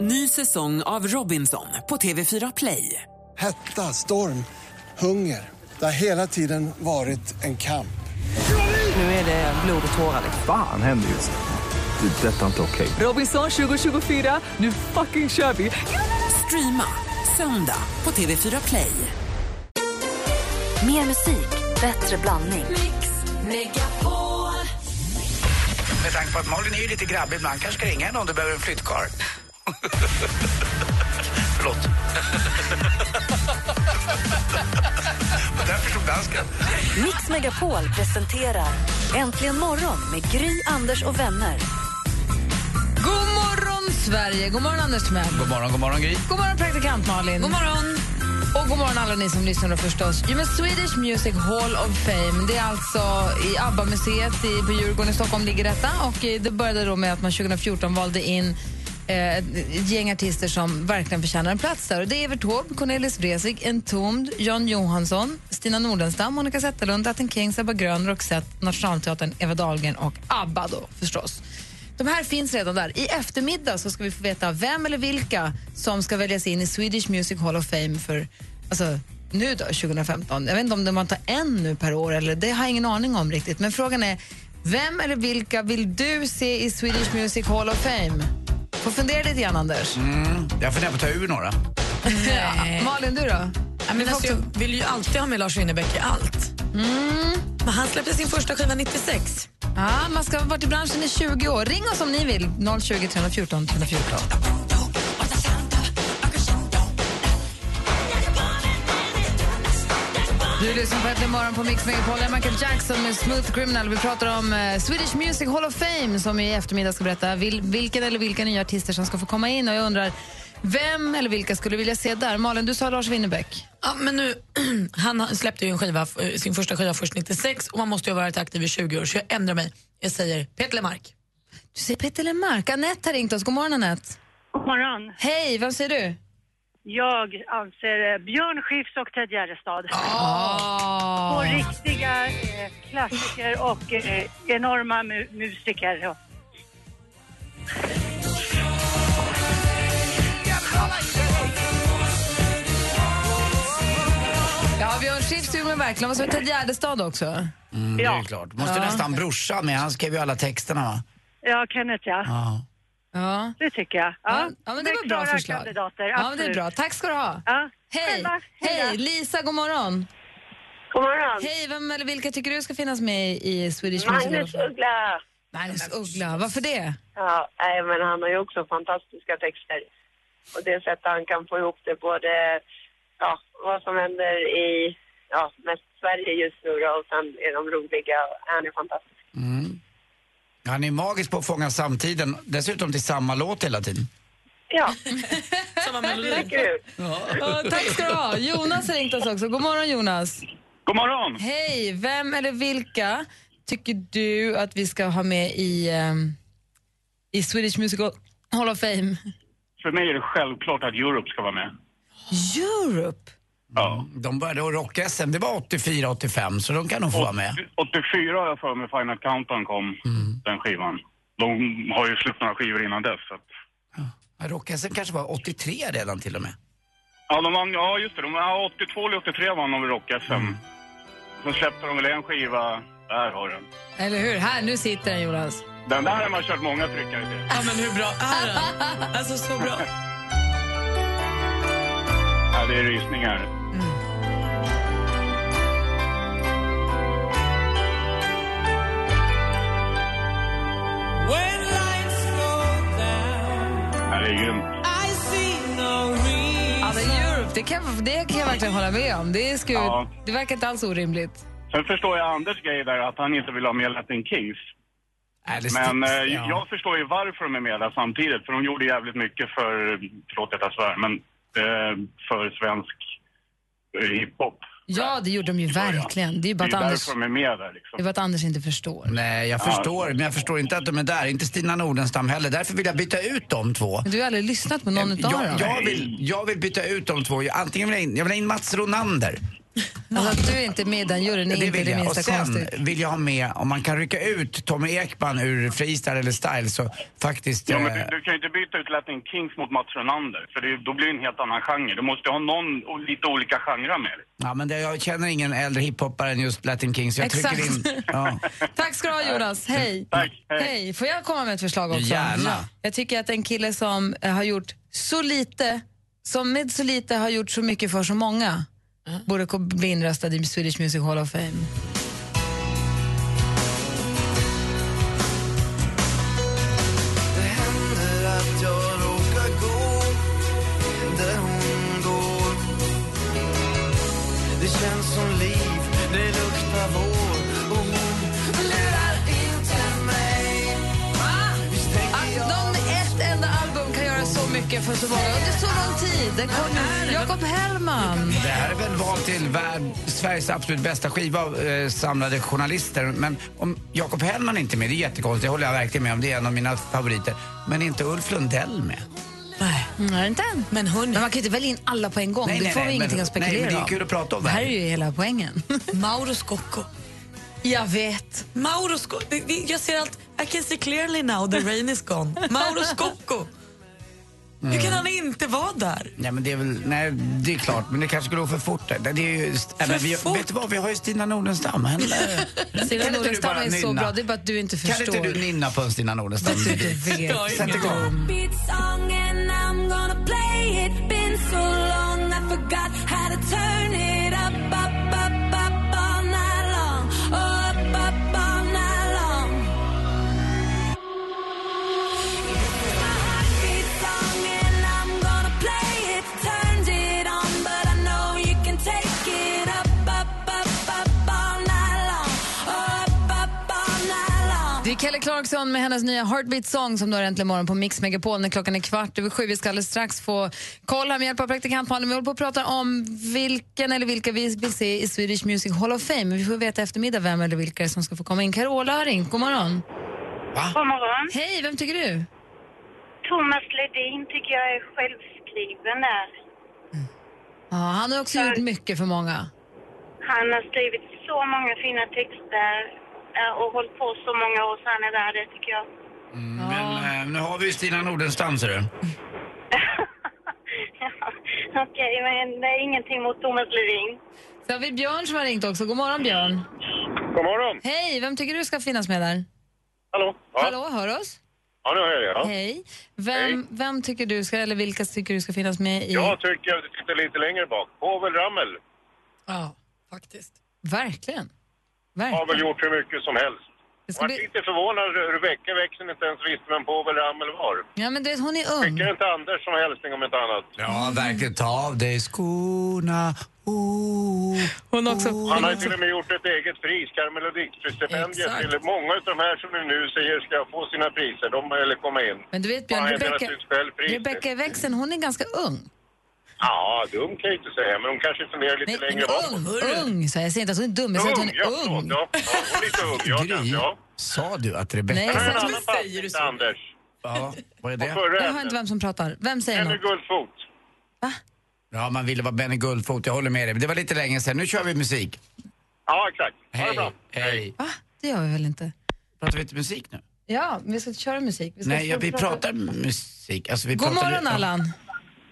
Ny säsong av Robinson på TV4 Play. Hetta, storm, hunger. Det har hela tiden varit en kamp. Nu är det blod och tårar. liksom. Fan händer just nu. Det. är Detta är inte okej. Robinson 2024, nu fucking kör vi! Streama söndag på TV4 Play. Mer musik, bättre blandning. Med tanke på att Malin är ju lite grabbig ibland kanske ska ringa henne om du behöver en flyttkarl. Förlåt. Och där förstod dansken. Mix Megapol presenterar Äntligen morgon med Gry, Anders och vänner. God morgon, Sverige! God morgon, Anders Timell. God morgon, god morgon Gry. God morgon, praktikant Malin. God morgon. Och god morgon alla ni som lyssnar och förstås. Jo, men Swedish Music Hall of Fame. Det är alltså i ABBA-museet i, på Djurgården i Stockholm ligger detta. Och eh, det började då med att man 2014 valde in eh, ett gäng artister som verkligen förtjänar en plats där. Och det är Evert Taube, Cornelis Vreeswijk, Entombed, Jan Johansson, Stina Nordenstam, Monica Zetterlund, Atten Kings, Ebba Grön, Roxette, Nationalteatern, Eva Dahlgren och ABBA då förstås. De här finns redan där. I eftermiddag så ska vi få veta vem eller vilka som ska väljas in i Swedish Music Hall of Fame för alltså, nu då, 2015. Jag vet inte om det- man tar en nu per år, eller det har jag ingen aning om riktigt. Men frågan är, vem eller vilka vill du se i Swedish Music Hall of Fame? Får fundera lite grann, Anders. Jag funderar på att ta ur några. Ja, Malin, du då? Ja, men alltså, jag vill ju alltid ha med Lars Winnerbäck i allt. Men han släppte sin första skiva 96. Mm. Ja, man ska ha varit i branschen i 20 år. Ring oss om ni vill. 020 314 314. Du lyssnar på Äntligen morgon på Mix Megapol. Jag är Michael Jackson med Smooth Criminal. Vi pratar om eh, Swedish Music Hall of Fame som i eftermiddag ska berätta vil, vilken eller vilka nya artister som ska få komma in. Och jag undrar, vem eller vilka skulle du vilja se där? Malin, du sa Lars Winnerbäck. Ja, men nu, han släppte ju en skiva, eh, sin första skiva först 96 och man måste ju ha varit aktiv i 20 år så jag ändrar mig. Jag säger Peter Lemark. Du säger Peter Lemark. Anette har ringt oss. God morgon, Anette. God morgon. Hej, vem säger du? Jag anser eh, Björn Skifs och Ted Gärdestad. Ah. Två riktiga eh, klassiker och eh, enorma mu- musiker. Ja. Ja, Björn Skifs gjorde mig verkligen. Vad sa vi? Ted Gärdestad också? Det är ju klart. Måste nästan brorsan med. Han skrev ju alla texterna va? Ja, Kenneth ja. Ja. Ja. Det tycker jag. Ja, ja men det var bra klara förslag. kandidater, ja, men det är absolut. bra. Tack ska du ha. Ja. Hej! Själva, Hej! då. Lisa, god morgon. God morgon. Hej, vem eller vilka tycker du ska finnas med i Swedish Magnus Music Hall? Uggla. Magnus Uggla. Varför det? Ja, nej, men han har ju också fantastiska texter. Och det sättet han kan få ihop det både, ja, vad som händer i, ja, mest Sverige just nu då, och sen är de roliga. Han är fantastisk. Han är magisk på att fånga samtiden. Dessutom till samma låt hela tiden. Ja, Samma melodi. kul. Ja, tack ska du ha. Jonas har ringt oss också. God morgon, Jonas. God morgon! Hej! Vem eller vilka tycker du att vi ska ha med i, ehm, i Swedish Music Hall of Fame? För mig är det självklart att Europe ska vara med. Europe? Ja. De började att rocka SM. Det var 84-85 så de kan nog få vara med. 84 har jag för mig Final Countdown kom, den skivan. De har ju släppt några skivor innan dess. Så. att- Ja, Rock SM kanske var 83 redan till och med. Ja, de vann, ja just det. De, ja, 82 eller 83 vann de rock-SM. Sen släppte de väl en skiva. Där har du den. Eller hur? Här, nu sitter den, Jonas. Den där har man kört många tryckare till. Ja, men hur bra är den? Alltså så bra. Ja, det är rysningar. Ja, det är grymt. Alltså Europe, det kan, det kan jag verkligen hålla med om. Det, är sku, Ja. det verkar inte alls orimligt. Sen förstår jag Anders grej där att han inte vill ha med Latin Kings. Alice Men Dix, eh, ja. jag förstår ju varför de är med där samtidigt, för de gjorde jävligt mycket för, förlåt att jag svär, men eh, för svensk eh, hiphop. Ja, det gjorde de ju verkligen. Det är ju Det bara är att ju Anders, därför de är med där liksom. det är bara att Anders inte förstår. Nej, jag förstår. Men jag förstår inte att de är där. Inte Stina Nordenstam heller. Därför vill jag byta ut de två. Men du har aldrig lyssnat på någon utav Jag, dem. jag, vill, jag vill byta ut de två. Jag- Antingen vill jag in, jag vill ha in Mats Ronander. Alltså att du är inte med i den juryn är Det inte vill det jag. Och minsta sen konstigt. vill jag ha med, om man kan rycka ut Tommy Ekman ur Freestyle eller Style så faktiskt... Ja, eh, men du, du kan ju inte byta ut Latin Kings mot Mats Rönander, för det, då blir det en helt annan genre. Du måste ju ha någon, och lite olika genrer med dig. Ja, men det, jag känner ingen äldre hiphoppare än just Latin Kings. Jag Exakt. trycker in... Ja. Tack ska du ha Jonas, hej. Tack, hej. hej. Får jag komma med ett förslag också? Gärna. Jag tycker att en kille som eh, har gjort så lite, som med så lite har gjort så mycket för så många, Uh-huh. borde ko- bli inröstad i Swedish Music Hall of Fame. Att någon med ett enda album kan göra så mycket för så många under så lång tid. Det kom Jakob Hellman. Det här är väl val till värld, Sveriges absolut bästa skiva av eh, samlade journalister. Men om Jakob Hellman är inte är med, det är jättekonstigt. Det håller jag verkligen med om. Det är en av mina favoriter. Men är inte Ulf Lundell med? Nej. Mm, Nej, inte än. Men hon, Men man kan ju inte välja in alla på en gång. det får vi ingenting men, att nej, spekulera men det är om. kul att prata om. Det här är verkligen. ju hela poängen. Mauro Scocco. Jag vet. Mauro Scocco. Det- det- Jag ser allt. I can see clearly now, the rain is gone. Mauro Scocco. Hur kan han inte vara där? Nej, men det är väl, nej, det är klart, men det kanske går för fort. där. Det, det är ju, nej, men vi, fort? Vet du vad, vi har ju Stina Nordenstam. Henne- Stina Kan inte du Nordenstam bara är så nynna? bra, det är bara att du inte Kan förstår. inte du nynna på en Stina Nordenstam? Att du inte vet. Jag är Sätt ingen igång. Det är Kelly Clarkson med hennes nya Heartbeat Song som du har äntligen morgon på Mix Megapol när klockan är kvart över sju. Vi ska alldeles strax få kolla med hjälp av praktikant Malin. Vi håller på att prata om vilken eller vilka vi vill se i Swedish Music Hall of Fame. Men Vi får veta i eftermiddag vem eller vilka som ska få komma in. Carola har ringt. God morgon. God morgon. Hej, vem tycker du? Thomas Ledin tycker jag är självskriven där. Ja, han har också gjort mycket för många. Han har skrivit så många fina texter eh, och hållit på så många år så han är värd det tycker jag. Men, eh, nu har vi ju Stina Nordenstam, ser du. Ja, Okej, men det är ingenting mot Thomas Ledin. Så har vi Björn som har ringt också. God morgon Björn. God morgon! Hej, vem tycker du ska finnas med där? Hallå? Ja, Hallå, hör oss? ja nu hör jag er. Ja. Hej. Vem, vem tycker du ska, eller vilka tycker du ska finnas med i... Jag tycker att du sitter lite längre bak. Povel Ramel Ja, faktiskt. Verkligen. har väl Verkligen. gjort hur mycket som helst. Det ska Jag bli... är lite förvånad hur Rebecka växeln inte ens visste vem Povel Ramel var. Ja, men du vet, hon är Skickar ung. inte Anders som hälsning om inte annat? Ja, verkligen. Ta av dig skorna. Oh. Hon också... Han har ju till och med gjort ett eget pris, Carmelo Dixter-stipendiet, Exakt. till många av de här som du nu säger ska få sina priser, de eller komma in. Men du vet Han Björn, har ju delat Rebecca, ut själv pris. Rebecca Växeln, hon är ganska ung. Ja, dum kan jag inte säga, men hon kanske funderar lite Nej, längre bakåt. ung, ung, så jag säger inte att hon är dum, jag säger att hon ja, är förlåt, ung. Ja, ja, hon är lite ung, ja, kanske, Gry, ja. sa du att Rebecca... Nej, Det jag är en säger, annan passning till Anders. Ja, vad är Och det? förra jag hör inte ämnet, vem som pratar. Vem säger Henry något? Guldfot. Ja, man ville vara Benny Guldfot. Jag håller med dig. Men det var lite länge sedan. Nu kör vi musik. Ja, exakt. Ha det Hej, bra. hej. Va? Det gör vi väl inte? Pratar vi inte musik nu? Ja, vi ska köra musik. Vi ska Nej, få ja, vi prata- pratar musik. Alltså, vi God pratar... morgon ja. Allan.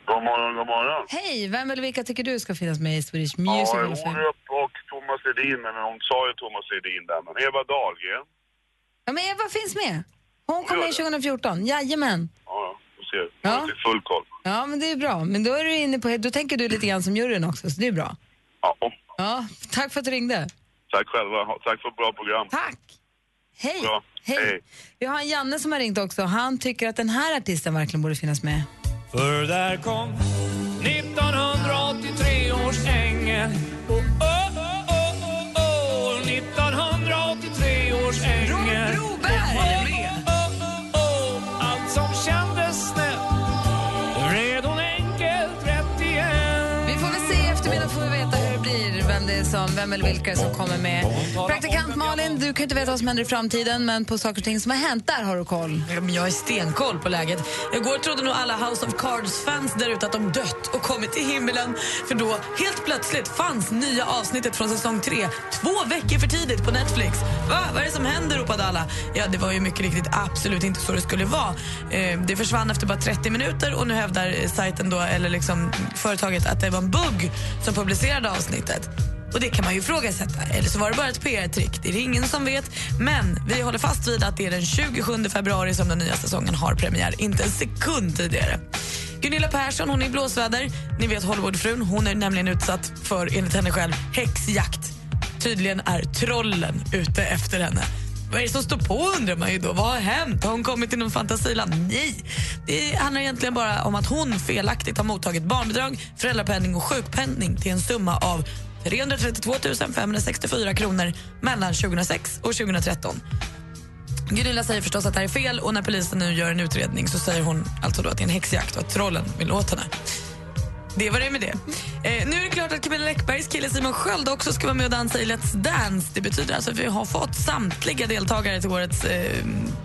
God morgon, god morgon. Hej, vem eller vilka tycker du ska finnas med i Swedish Music Hall of Fame? och Thomas Ledin, men hon sa ju Thomas Ledin där, men Eva Dahlgren. Ja, men Eva finns med. Hon kom Gör in det. 2014, jajamän. Ja, du ser. Ja. Jag har inte full koll. Ja, men det är bra. Men då är du inne på, då tänker du lite grann som juryn också, så det är bra. Ja, och Ja, tack för att du ringde. tack själva. Ha- Tack för ett bra program. Tack! Hej. Bra. Hej. Vi har en Janne som har ringt också. Han tycker att den här artisten verkligen borde finnas med. För där kom 1983 års ängel oh, oh, oh, oh, oh, oh, 1983 års ängel Broberg! oh, oh, oh, Allt som kändes snett Vred hon enkelt rätt igen Vi får väl se i eftermiddag får vi veta hur det blir, vem det är som, vem eller vilka som kommer med. Praktikant Malin, du kan inte veta vad som händer i framtiden, men på saker och ting som har hänt, där har du koll. Ja, men Jag har stenkoll på läget. Igår trodde nog alla House of Cards-fans där ute att de dött och kommit till himlen. För då, helt plötsligt, fanns nya avsnittet från säsong tre två veckor för tidigt på Netflix. Va? Vad är det som händer? ropade alla. Ja, det var ju mycket riktigt absolut inte så det skulle vara. Eh, Det försvann efter bara 30 minuter och nu hävdar eh, sajten då, eller liksom företaget att det var en bugg som publicerade avsnittet. Och det kan man ju ifrågasätta. Eller så var det bara ett PR-trick. Det är det ingen som vet. Men vi håller fast vid att det är den 27 februari som den nya säsongen har premiär. Inte en sekund tidigare. Gunilla Persson hon är i blåsväder. Ni vet Hollywoodfrun. Hon är nämligen utsatt för, enligt henne själv, häxjakt. Tydligen är trollen ute efter henne. Vad är det som står på undrar man ju då. Vad har hänt? Har hon kommit till någon fantasiland? Nej! Det handlar egentligen bara om att hon felaktigt har mottagit barnbidrag, föräldrapenning och sjukpenning till en summa av 332 564 kronor mellan 2006 och 2013. Gunilla säger förstås att det här är fel och när polisen nu gör en utredning så säger hon alltså då att det är en häxjakt och att trollen vill åt henne. Det var det med det. Eh, nu är det klart att Camilla Läckbergs kille Simon Sköld också ska vara med och dansa i Let's Dance. Det betyder alltså att vi har fått samtliga deltagare till årets eh,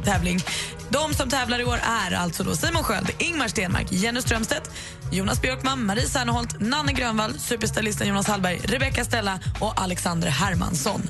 tävling. De som tävlar i år är alltså då Simon Sköld, Ingmar Stenmark, Jenny Strömstedt, Jonas Björkman, Marie Serneholt, Nanne Grönvall, superstylisten Jonas Hallberg, Rebecca Stella och Alexander Hermansson.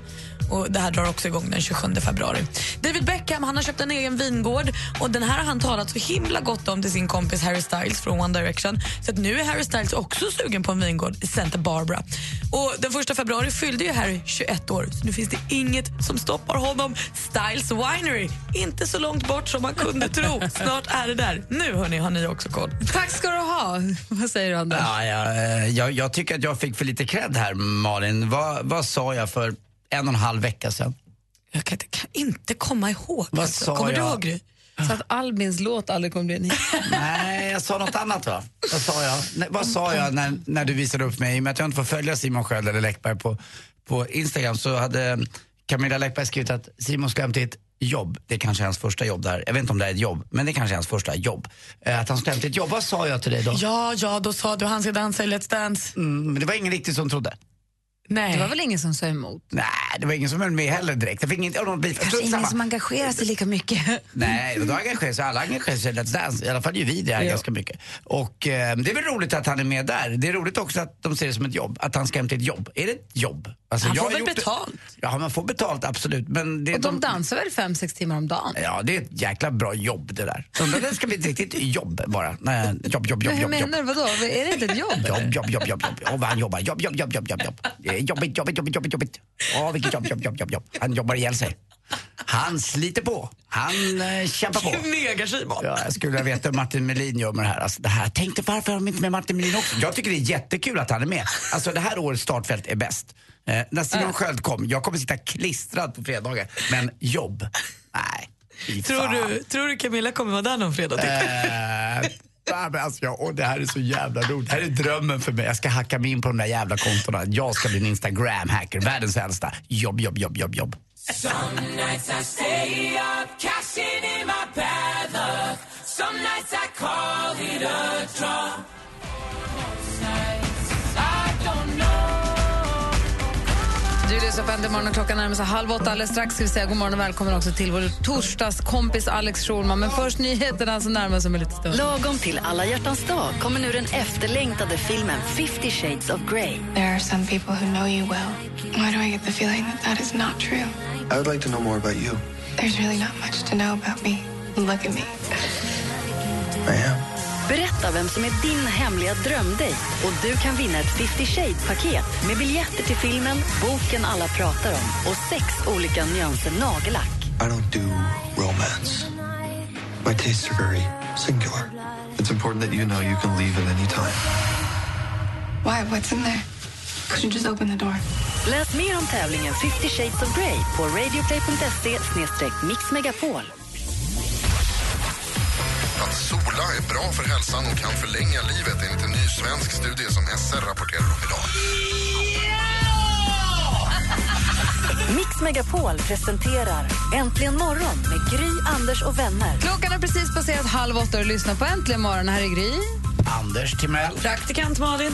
Och det här drar också igång den 27 februari. David Beckham han har köpt en egen vingård och den här har han talat så himla gott om till sin kompis Harry Styles från One Direction. Så att nu är Harry Styles också sugen på en vingård i Santa Barbara. Och den 1 februari fyllde ju Harry 21 år så nu finns det inget som stoppar honom. Styles Winery, inte så långt bort som man kunde tro. Snart är det där. Nu hörni har ni också koll. Tack ska du ha. Vad säger du, Anders? Ja, ja, eh, jag, jag tycker att jag fick för lite cred här, Malin. Vad, vad sa jag för en och en halv vecka sedan? Jag kan inte, kan inte komma ihåg. Vad alltså. sa Kommer du jag? ihåg, Gry? Så att Albins låt aldrig kommer bli en hit. Nej, jag sa något annat va? Vad sa jag, Nej, vad sa jag när, när du visade upp mig? I och med att jag inte får följa Simon Sköld eller Läckberg på, på Instagram så hade Camilla Läckberg skrivit att Simon ska hem till ett jobb. Det är kanske är hans första jobb där. Jag vet inte om det är ett jobb, men det kanske är hans första jobb. Eh, Att han ska hem till ett jobb. Vad sa jag till dig då? Ja, ja, då sa du han ska dansa i Let's Dance. Mm, men det var ingen riktigt som trodde. Nej. Det var väl ingen som sa emot? Nej, det var ingen som höll med heller direkt. Jag fick inte av någon bit. Kanske Strunt ingen samma. som engagerar sig lika mycket. Nej, då engagerar sig alla engagerar sig i Let's Dance. I alla fall gör vi det här ganska mycket. Och eh, det är väl roligt att han är med där. Det är roligt också att de ser det som ett jobb. Att han ska hem till ett jobb. Är det ett jobb? Alltså, Han får har väl gjort det- betalt? Ja, man får betalt absolut. Men det, Och de dansar väl fem, sex timmar om dagen? Ja, det är ett jäkla bra jobb det där. Undrar om det ska bli ett riktigt jobb bara. Nej, jobb, jobb, jobb, Men hur jobb. jobb. menar du? Vadå? Är det inte ett jobb? Jobb, jobb, jobb, jobb, jobb. Åh, vad han jobbar. Jobb, jobb, jobb, jobb, jobb, jobb. Eh, Jobbigt, jobbigt, jobbigt, jobbigt, jobbigt. Åh, vilket jobb, jobb, jobb, jobb, jobb. Han jobbar ihjäl sig. Han sliter på. Han eh, kämpar på. Knegar Simon. Ja, jag skulle vilja veta hur Martin Melin gör med det här. Alltså, det här. Tänk dig, varför har de inte med Martin Melin också? Jag tycker det är jättekul att han är med. Alltså det här årets startfält är bäst. Eh, när Simon Sköld kom, jag kommer sitta klistrad på fredagar. Men jobb? Nej, fy Tror fan. du, tror du Camilla kommer vara där någon fredag? Eh, nej, men alltså, jag, och det här är så jävla roligt. Det här är drömmen för mig. Jag ska hacka mig in på de där jävla kontona. Jag ska bli en Instagram-hacker. Världens äldsta. Jobb, jobb, jobb, jobb, jobb. Some nights I stay up, cashing in my bad luck. Some nights I call it a draw. I don't know. Du lyssnar på Äntligen morgon och klockan närmar sig halv åtta. Alldeles strax ska vi säga god morgon och välkommen också till vår torsdagskompis Alex Schulman. Men först nyheterna som närmar sig om en liten stund. Lagom till alla hjärtans dag kommer nu den efterlängtade filmen 50 shades of Grey. There are some people who know you well. Why do I get the feeling that that is not true? I would like to know more about you. There's really not much to know about me. Look at me. Berätta vem som är din hemliga drömdejt och du kan vinna ett 50 Shades-paket med biljetter till filmen, boken alla pratar om och sex olika nyanser nagellack. I don't do romance. My tastes are very singular. It's important that you know you can leave at any time. Why? What's in there? Could you just open the door? Läs mer om tävlingen 50 Shades of Grey på radioplay.se mixmegapol. Att sola är bra för hälsan och kan förlänga livet enligt en ny svensk studie som SR rapporterar om idag. Mix Megapol presenterar Äntligen morgon med Gry, Anders och vänner. Klockan har precis passerat halv åtta och lyssna på Äntligen morgon. Här är Gry. Anders Timell. Praktikant Malin.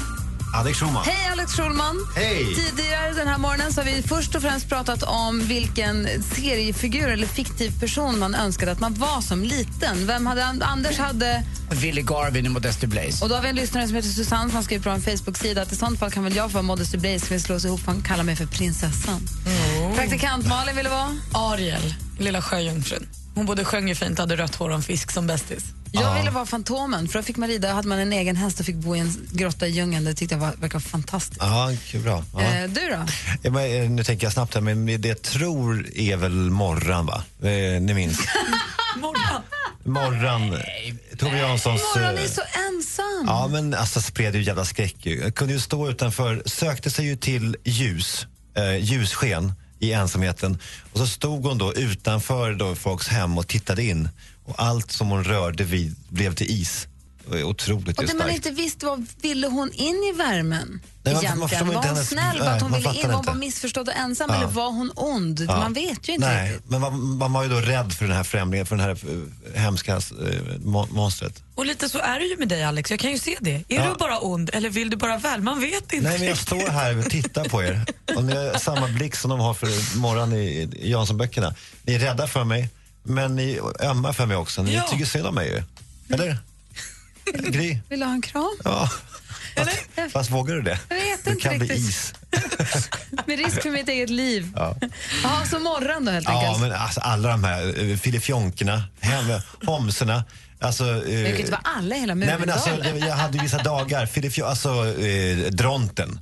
Alex Schulman. Hej Alex Schulman! Hej. Tidigare den här morgonen så har vi först och främst pratat om vilken seriefigur eller fiktiv person man önskade att man var som liten. Vem hade, Anders hade Willy Garvin i Modesto Blaze. Och då har vi en lyssnare som heter Susanne som har skrivit på en Facebook-sida att i sånt fall kan väl jag få vara Modesty Blaze för vi slås ihop han kallar mig för prinsessan. Mm. Praktikant Malin ville vara? Ariel, Lilla Sjöjungfrun. Hon både sjöng ju fint och hade rött hår och en fisk som bästis. Jag ville vara Fantomen för då fick man rida, hade man en egen häst och fick bo i en grotta i djungeln. Det tyckte jag var, verkade fantastiskt. Ja, kul, bra. Ja. Eh, du då? Ja, men, eh, nu tänker jag snabbt här, men det jag tror är väl Morran, va? Eh, ni minns? Morran. Morran. Tove Janssons... eh, Morran är så ensam. Ja, men alltså spred ju jävla skräck. ju. Jag kunde ju stå utanför, sökte sig ju till ljus, eh, ljussken i ensamheten. Och så stod hon då utanför då folks hem och tittade in. Och allt som hon rörde vid blev till is. Det var Otroligt Och ju det man starkt. inte visste var, ville hon in i värmen? Nej, man- man förstår Egentligen. inte Var hon hennes- snäll? Var nej, att hon man ville fattar in? Var hon inte. bara missförstådd och ensam? Ja. Eller var hon ond? Ja. Man vet ju inte Nej, riktigt. men man, man var ju då rädd för den här främlingen, för den här eh, hemska eh, mon- monstret. Och lite så är det ju med dig Alex, jag kan ju se det. Är Ja. du bara ond eller vill du bara väl? Man vet inte. Nej, men jag står här och tittar på er. Och ni har samma blick som de har för morgon i i Janssonböckerna. Ni är rädda för mig, men ni ömmar för mig också. Ni Ja. tycker synd om mig ju. Eller? Gry? Vill du ha en kram? Ja. Fast, fast vågar du det? Jag vet Du inte kan bli riktigt. is. Med risk för mitt eget liv. Ja. Jaha, så morgon då helt Ja, enkelt. men alltså, alla de här eh, filifjonkerna, hem- homserna. Alltså, eh, Men det kan ju inte vara alla i hela Nej, men alltså, Mumindalen. jag, jag hade vissa dagar, Filifjö, alltså eh, Dronten,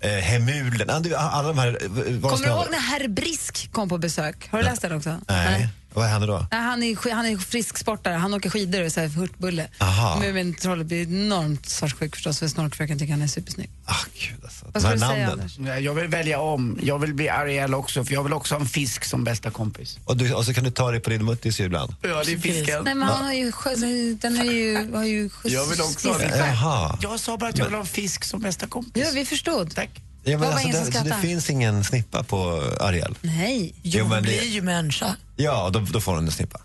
eh, Hemulen, ja, du, alla de här... eh, vad ska Kommer du jag- ihåg när herr Brisk kom på besök? Har du läst den också? Nej, vad hände då? Nej, han, är, sk- han är frisksportare, han åker skidor och är så här hurtbulle. Aha. Mumintrollet blir enormt svartsjuk förstås för snorkfröken tycker han är supersnygg. Ah, alltså. Vad ska du säga, Anders? Nej, Jag vill välja om. Jag vill bli Ariel också, för jag vill också ha en fisk som bästa kompis. Och, du, och så kan du ta dig på din muttis ibland. Ja, det är fisken. Nej men han har ju, sjö- den har ju, har ju sjö- Jag vill också ha det. fiskar. Eh, Jaha. Jag sa bara att jag vill ha en fisk som bästa kompis. Ja, vi förstod. Tack. Ja, var men alltså, ingen som det, så det skrattade. finns ingen snippa på Ariel? Nej. Jo, men det- ju människa. Ja, då, då får hon en snippa.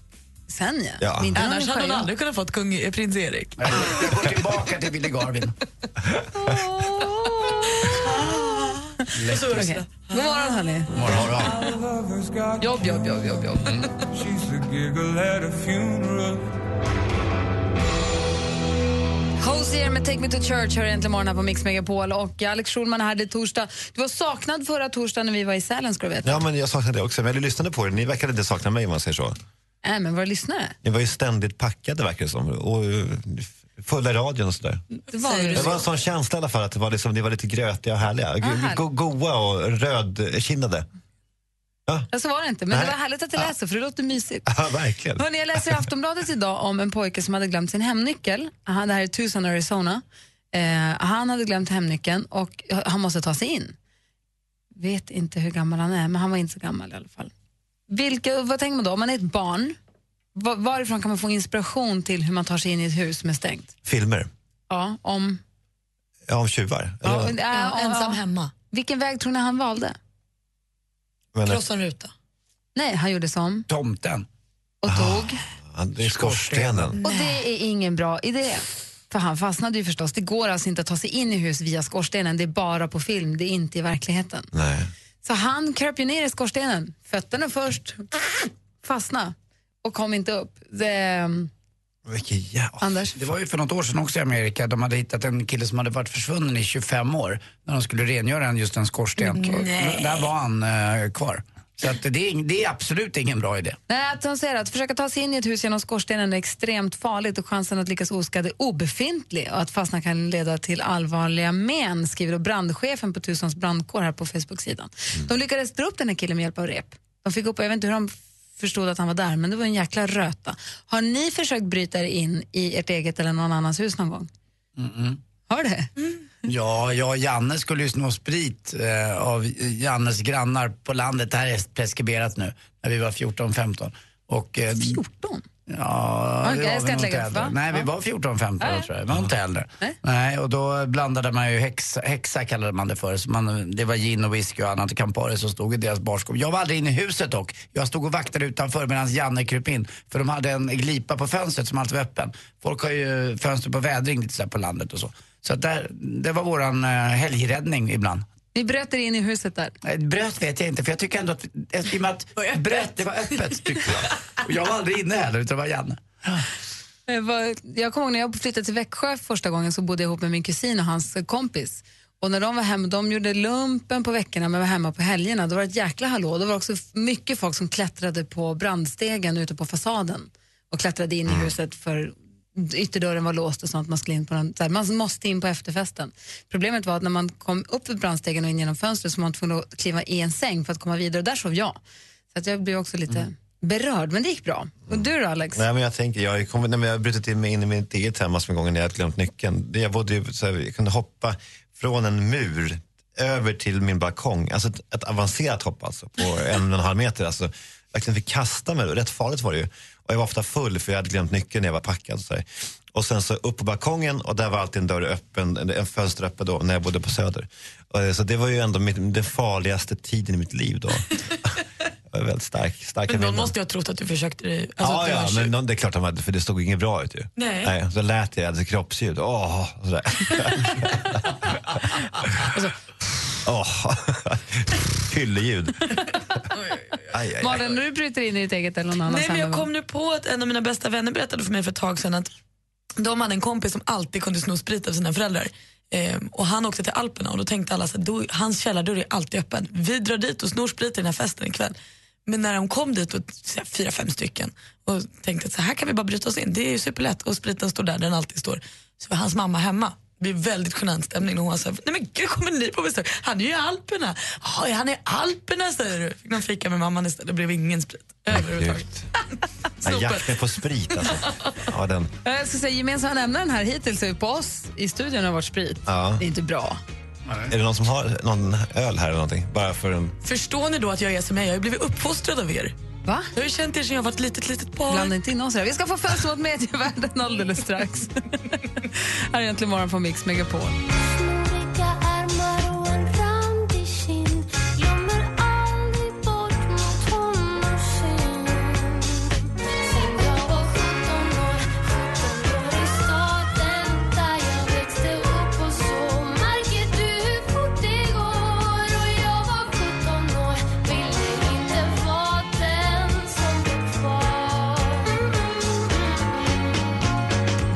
Sen ja. Ja. Men inte någon Annars hade hon sjö- aldrig kunnat fått kung, eh, prins Erik. Jag går tillbaka till Billy Garvin. Och så Ursula. Okej. God morgon hörni. Jobb, jobb, jobb, jobb. Mm. jobb. Hosier med Take Me To Church hör äntligen morgon här på Mix Megapol och Alex Schulman är här, det är torsdag. Du var saknad förra torsdagen när vi var i Sälen ska du veta. Ja, men jag saknade det också. Men jag lyssnade på er. Ni verkade inte sakna mig om man säger så. Nej Äh, men våra lyssnare. Ni var ju ständigt packade verkar det som. Och eh, fulla i radion och sådär. Det var Det var en sån känsla i alla fall att det var liksom, ni var lite grötiga och härliga. Go- härligt. go- Goa och rödkinnade. Ja, så var det inte, men Nej. det var härligt att du läser för det låter mysigt. Ja, verkligen. Hörrni, jag läser i Aftonbladet idag om en pojke som hade glömt sin hemnyckel. Han, det här är Tucson, Arizona. Eh, han hade glömt hemnyckeln och han måste ta sig in. Vet inte hur gammal han är, men han var inte så gammal i alla fall. Vilka, vad tänker man då? Om man är ett barn, va- varifrån kan man få inspiration till hur man tar sig in i ett hus som är stängt? Filmer. Ja, om... Ja, om tjuvar. Eller vad? ensam hemma. Vilken väg tror ni han valde? Men- en ruta. Nej, han gjorde som. Tomten. Och tog. Ja, det är skorstenen. Och det är ingen bra idé. För han fastnade ju förstås. Det går alltså inte att ta sig in i hus via skorstenen. Det är bara på film, det är inte i verkligheten. Nej. Så han kröp ju ner i skorstenen, fötterna först, fastna och kom inte upp. Det, ehm, Vilken jävla... Anders? Det var ju för något år sedan också i Amerika. De hade hittat en kille som hade varit försvunnen i 25 år när de skulle rengöra en, just en skorsten. Nej. Och d- Där var han eh, kvar. Så att det, är, ing- det är absolut ingen bra idé. nej, att de säger att försöka ta sig in i ett hus genom skorstenen är extremt farligt och chansen att lyckas oskadd är obefintlig och att fastna kan leda till allvarliga men, skriver då brandchefen på Tusons brandkår här på Facebook-sidan. De lyckades dra upp den här killen med hjälp av rep. De fick upp, jag vet inte hur de förstod att han var där, men det var en jäkla röta. Har ni försökt bryta er in i ert eget eller någon annans hus någon gång? Mm-mm. Har det? Ja, jag och Janne skulle ju sno sprit eh, av Jannes grannar på landet. Det här är preskriberat nu, när vi var 14-15. Och, eh, 14? Ja, Okej, det var jag ska vi inte nog lägga upp, äldre. va? Nej, vi Ja. var 14-15 Ja, ja. år tror jag. Vi var inte äldre. Nej. och då blandade man ju häxa, häxa kallade man det för. Så man, det var gin och whisky och annat och Campari som stod i deras barskåp. Jag var aldrig inne i huset dock. Jag stod och vaktade utanför medan Janne kröp in. För de hade en glipa på fönstret som alltid var öppen. Folk har ju fönster på vädring lite sådär på landet och så. Så att där, det var våran eh, helgräddning ibland. Vi bröt er in i huset där. Nej, Bröt vet jag inte, för jag tycker ändå att, eh, i och med att bröt, det var öppet tyckte jag. Och jag var aldrig inne heller, utan det var Janne. Jag, var, jag kommer ihåg när jag flyttade till Växjö första gången så bodde jag ihop med min kusin och hans kompis. Och när de var hemma, de gjorde lumpen på veckorna men var hemma på helgerna, då var det ett jäkla hallå. Då var det också f- mycket folk som klättrade på brandstegen ute på fasaden och klättrade in i huset för ytterdörren var låst och sånt. Man, skulle in på den, så här, man måste in på efterfesten. Problemet var att när man kom upp för brandstegen och in genom fönstret så var man tvungen att kliva i en säng för att komma vidare och där sov jag. Så att jag blev också lite berörd, men det gick bra. Och du då Alex? Nej, men jag tänker, jag, har ju kommit- nej, men jag har brutit in mig in i mitt eget hem massor med gånger när jag hade glömt nyckeln. Det- Jag, bodde ju, så här, jag kunde hoppa från en mur över till min balkong. Alltså ett, ett avancerat hopp alltså, på en och en halv meter. Alltså, jag fick kasta mig, rätt farligt var det ju. Och jag var ofta full för jag hade glömt nyckeln när jag var packad. Så här. Och sen så upp på balkongen och där var alltid en dörr öppen, en- en fönster öppen då när jag bodde på Söder. Eh, Så det var ju ändå mitt, den farligaste tiden i mitt liv då. Jag var väldigt stark, starka Men någon minnen. måste ju ha trott att du försökte dig. Alltså, att ja, du var ja, tjuv. men de, det är klart de hade, för det stod inget bra ut ju. Nej. så lät jag, alltså kroppsljud. Åh, sådär. Åh, fylleljud. Aj, aj, aj. Malin, när du bryter in i ditt eget eller någon annans Nej, men jag hem, kom nu på att en av mina bästa vänner berättade för mig för ett tag sedan att de hade en kompis som alltid kunde sno sprit av sina föräldrar. Ehm, och han åkte till Alperna och då tänkte alla att hans källardörr är alltid öppen. Vi drar dit och snor sprit till den här festen ikväll. Men när de kom dit, och, så här, fyra, fem stycken, och tänkte att så här kan vi bara bryta oss in, det är ju superlätt och spriten står där där den alltid står. Så var hans mamma hemma. Det blev väldigt genant stämning och hon sa, nej men gud kommer ni på besök? Han är ju i Alperna. Ja, han är i Alperna säger du. Fick någon fika med mamman istället, det blev ingen sprit överhuvudtaget. Ja, jakten på sprit alltså. Ja, den. eh, Jag ska säga, gemensamma nämnaren här hittills är ju på oss i studion har varit sprit. Ja. Det är inte bra. Är det någon som har någon öl här eller någonting? Bara för en... Förstår ni då att jag är som jag är? Jag har ju blivit uppfostrad av er. Va? Jag har ju känt er sedan jag var ett litet, litet barn. Blanda inte in oss i det här. Vi ska få fönster mot medievärlden alldeles strax. här är Äntligen morgon på Mix Megapol.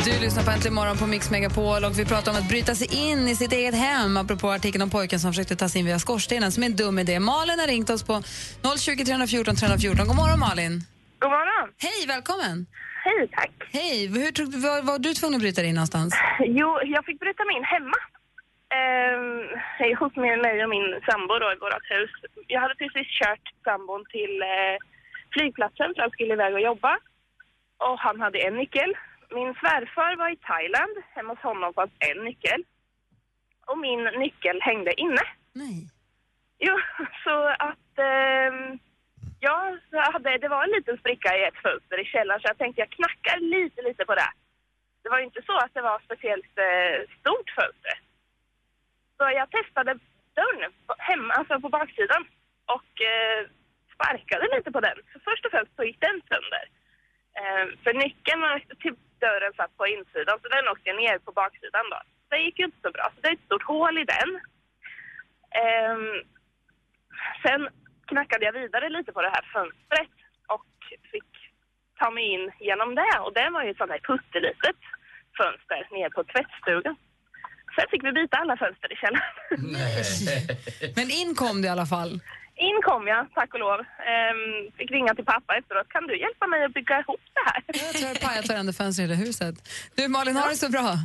Du lyssnar på Äntligen morgon på Mix Megapol och vi pratar om att bryta sig in i sitt eget hem apropå artikeln om pojken som försökte ta sig in via skorstenen som är en dum idé. Malin har ringt oss på 020 314 314. God morgon Malin. God morgon. Hej, välkommen. Hej, tack. Hej, hur, tog- var, var du tvungen att bryta dig in någonstans? Jo, jag fick bryta mig in hemma. Ehm, hej, hos min- mig och min sambo då i vårt hus. Jag hade precis kört sambon till eh, flygplatsen för han skulle iväg och jobba. Och han hade en nyckel. Min svärfar var i Thailand. Hemma hos honom fanns en nyckel. Och min nyckel hängde inne. Nej. Jo, så att... ehm, ja, jag hade, det var en liten spricka i ett fönster i källaren så jag tänkte jag knackar lite, lite på det. Det var ju inte så att det var speciellt eh, stort fönster. Så jag testade dörren på- hemma, alltså på baksidan och eh, sparkade lite på den. Så först och främst så gick den sönder. Eh, för nyckeln till dörren satt på insidan så den åkte ner på baksidan då. Det gick ju inte så bra, så det är ett stort hål i den. Ehm, sen knackade jag vidare lite på det här fönstret och fick ta mig in genom det. Och det var ju ett sånt här puttelitet fönster ner på tvättstugan. Sen fick vi byta alla fönster i källaren. Men in kom du i alla fall. In kom jag, tack och lov. Ehm, fick ringa till pappa efteråt. Kan du hjälpa mig att bygga ihop det här? Jag tror jag har pajat varenda fönster i det huset. Du Malin, har det så bra.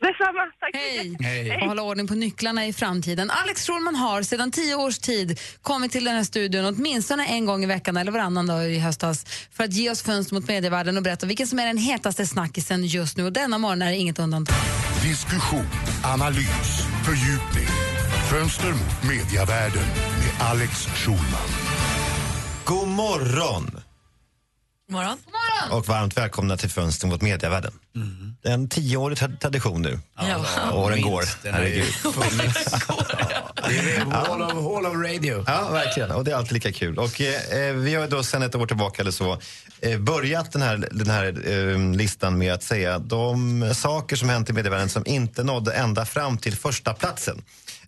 Detsamma, tack Hej. Hej. Och hålla ordning på nycklarna i framtiden. Alex Schulman har sedan tio års tid kommit till den här studion åtminstone en gång i veckan eller varannan dag i höstas för att ge oss fönster mot medievärlden och berätta vilken som är den hetaste snackisen just nu. Och denna morgon är det inget undantag. Diskussion, analys, fördjupning. Fönster mot mediavärlden med Alex Schulman. God morgon! God morgon. God morgon! morgon! och varmt välkomna till Fönster mot medievärlden. Det är en tioårig tra- tradition nu. Ja. Åren Mm. går. Minst, den har ju Herregud. Det är Wall of, hall of radio. Ja, verkligen. Och det är alltid lika kul. Och, eh, eh, vi har då sedan ett år tillbaka eller så eh, börjat den här, den här eh, listan med att säga de saker som hänt i medievärlden som inte nådde ända fram till första platsen.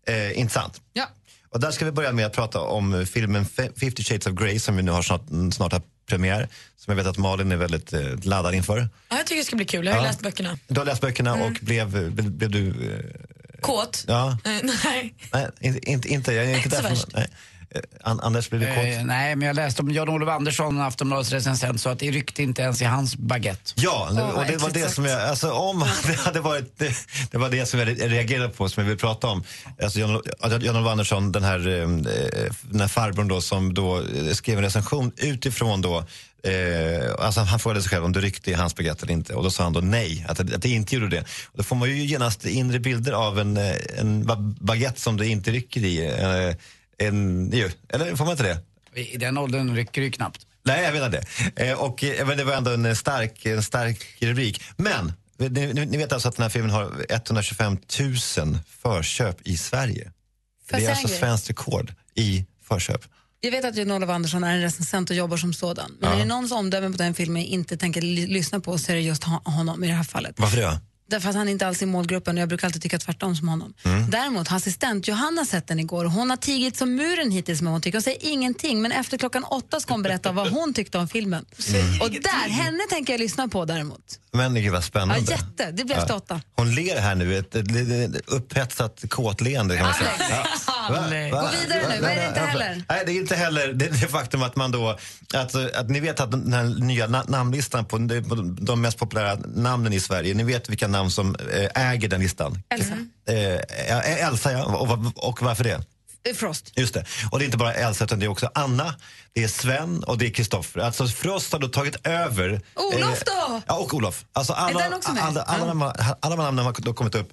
Eh, intressant. Ja. Och där ska vi börja med att prata om filmen Fe- 50 shades of Grey som vi nu har snart, snart har premiär. Som jag vet att Malin är väldigt eh, laddad inför. Ja, jag tycker det ska bli kul. Jag har ju Ja. läst böckerna. Du har läst böckerna och blev, blev, blev du... eh, Kåt? Ja. Eh, nej. Nej, inte, inte, inte, jag är inte, Inte så därför- värst. nej. Eh, An- Anders, blev du kåt? Eh, nej, men jag läste om Jan-Olof Andersson, Aftonbladets recensent, så att det ryckte inte ens i hans baguette. Ja, Åh, och vad det var det äckligt som jag, alltså om det hade varit, det, det var det som jag re- reagerade på som jag vill prata om. Alltså Jan- att Jan-Olof Andersson, den här, eh, den här farbrorn då som då eh, skrev en recension utifrån då, eh, alltså han frågade sig själv om det ryckte i hans baguette eller inte och då sa han då nej, att, det- att det inte gjorde det. Och då får man ju genast inre bilder av en, eh, en ba- baguette som det inte rycker i. eh, En, ju, eller får man inte det? I i den åldern rycker det ju knappt. Nej, jag menar det. Eh, och, eh, men det var ändå en eh, stark, en stark rubrik. Men, ni, ni ni vet alltså att den här filmen har 125 000 förköp i Sverige. Får jag det är säga alltså en grej? svenskt rekord i förköp. Jag vet att Jan-Olof Andersson är en recensent och jobbar som sådan. Men Ja. är det någons omdöme på den filmen jag inte tänker ly- lyssna på så är det just ho- honom i det här fallet. Varför det? Därför att han är inte alls i målgruppen och jag brukar alltid tycka tvärtom som honom. Mm. Däremot har assistent Johanna sett den igår och hon har tigit som muren hittills med vad hon tycker. Hon säger ingenting men efter klockan åtta ska hon berätta vad hon tyckte om filmen. Och där, henne tänker jag lyssna på däremot. Men gud vad Ja, spännande. jätte, det blir efter Ja. åtta. Hon ler här nu, ett, ett, ett, ett upphetsat kåtleende kan man säga. Alex. Ja. Va? Alex. Va? Gå vidare nu, vad är det inte heller? Nej, det är inte heller det, det faktum att man då... Att, att ni vet att den här nya na- namnlistan på de, på de mest populära namnen i Sverige, ni vet vilka namn som eh, äger den listan? Elsa. Eh, ja, Elsa, ja. Och, va- och varför det? Eh, Frost. Just det. Och det är inte bara Elsa utan det är också Anna, det är Sven och det är Kristoffer. Alltså Frost har då tagit över. eh, Olof då? Ja, och Olof. Alltså alla, Är den också med? alla, alla, alla, alla namnen har då kommit upp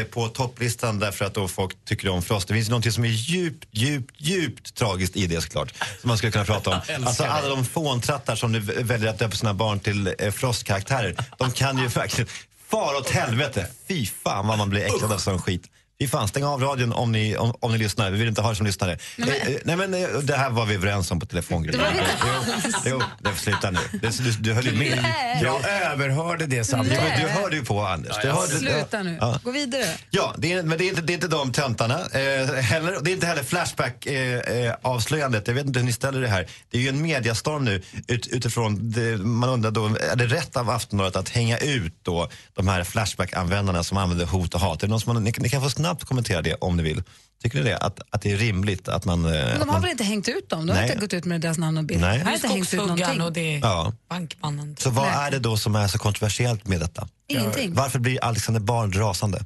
eh, på topplistan därför att då folk tycker om Frost. Det finns ju någonting som är djupt, djupt, djupt tragiskt i det såklart. Som man skulle kunna prata Jag om. älskar Alltså det. alla de fåntrattar som nu väljer att döpa sina barn till eh, Frost-karaktärer. De kan ju verkligen... Far åt helvete! Fy fan vad man blir äcklad av sån skit. Fy fan, stäng av radion om ni, om, om ni lyssnar. Vi vill inte ha er som lyssnare. Nej, men- Eh, eh, Nej, men, eh, det här var vi överens om på telefongruppen. Det var vi Jo, jo, det sluta nu. Det, du, du höll ju med. Nej. Jag överhörde det samtidigt. Nej. Du hörde ju på Anders. Du hörde, Sluta nu, Ja. gå vidare. Ja, det är, men det är, inte, det är inte de töntarna. Eh, heller, och det är inte heller Flashback-avslöjandet. Eh, eh, avslöjandet. jag vet inte hur ni ställer det här. Det är ju en mediastorm nu ut, utifrån, det, man undrar då, är det rätt av Aftonbladet att hänga ut då de här Flashback-användarna som använder hot och hat? Är det någon som man, ni, ni kan få snabbt kommentera det om ni vill. Tycker ni det? Att, att det är rimligt att man... eh, Men att de har man väl inte hängt ut dem? De har Nej. inte gått ut med deras namn och bild. Nej. De har inte hängt ut Skogshuggaren någonting. och det är ja. bankmannen. Så vad är det då som är så kontroversiellt med detta? Ingenting. Varför blir Alexander Bard rasande?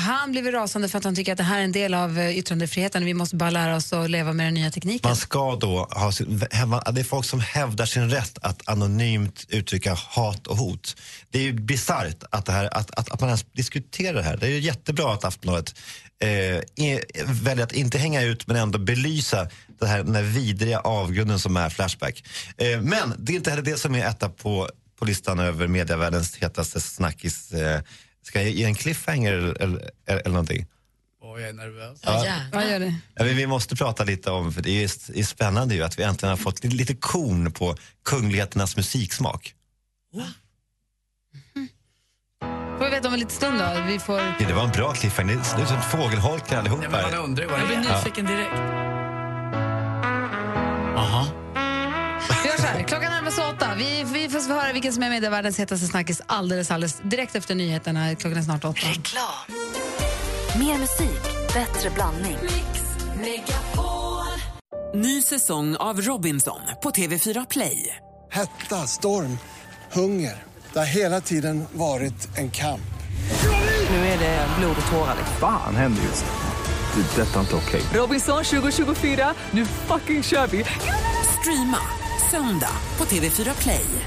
Han blev rasande för att han tycker att det här är en del av eh, yttrandefriheten. Vi måste bara lära oss att leva med den nya tekniken. Man ska då ha sin, häva- det är folk som hävdar sin rätt att anonymt uttrycka hat och hot. Det är ju bisarrt att, det här- att, att, att man ens diskuterar det här. Det är ju jättebra att Aftonbladet eh, är- väljer att inte hänga ut men ändå belysa det här, den här vidriga avgrunden som är Flashback. Eh, men det är inte heller det som är etta på, på listan över medievärldens hetaste snackis. Eh, ska jag ge en cliffhanger eller, eller, eller någonting? Åh, jag är nervös. Ja. Vad gör det? Ja, men vi måste prata lite om, för det är, ju, det är spännande ju att vi äntligen har fått lite, lite korn på kungligheternas musiksmak. Får vi veta om en liten stund då? Vi får... Ja, det var en bra cliffhanger, det är som fågelholkar allihop Ja, men här. man undrar ju vad Jag det blir är. nyfiken direkt. Aha. Vi gör så här, klockan närmar sig åtta. Vi, vi får höra vilken som är med i världens hetaste snackis alldeles, alldeles direkt efter nyheterna. Klockan är snart åtta. Mer musik, bättre blandning. Ny säsong av Robinson på TV4 Play. Hetta, storm, hunger. Det har hela tiden varit en kamp. Nu är det blod och tårar. liksom. Fan händer just det. Det är detta inte okej. Robinson 2024, nu fucking kör vi! Streama söndag på TV4 Play.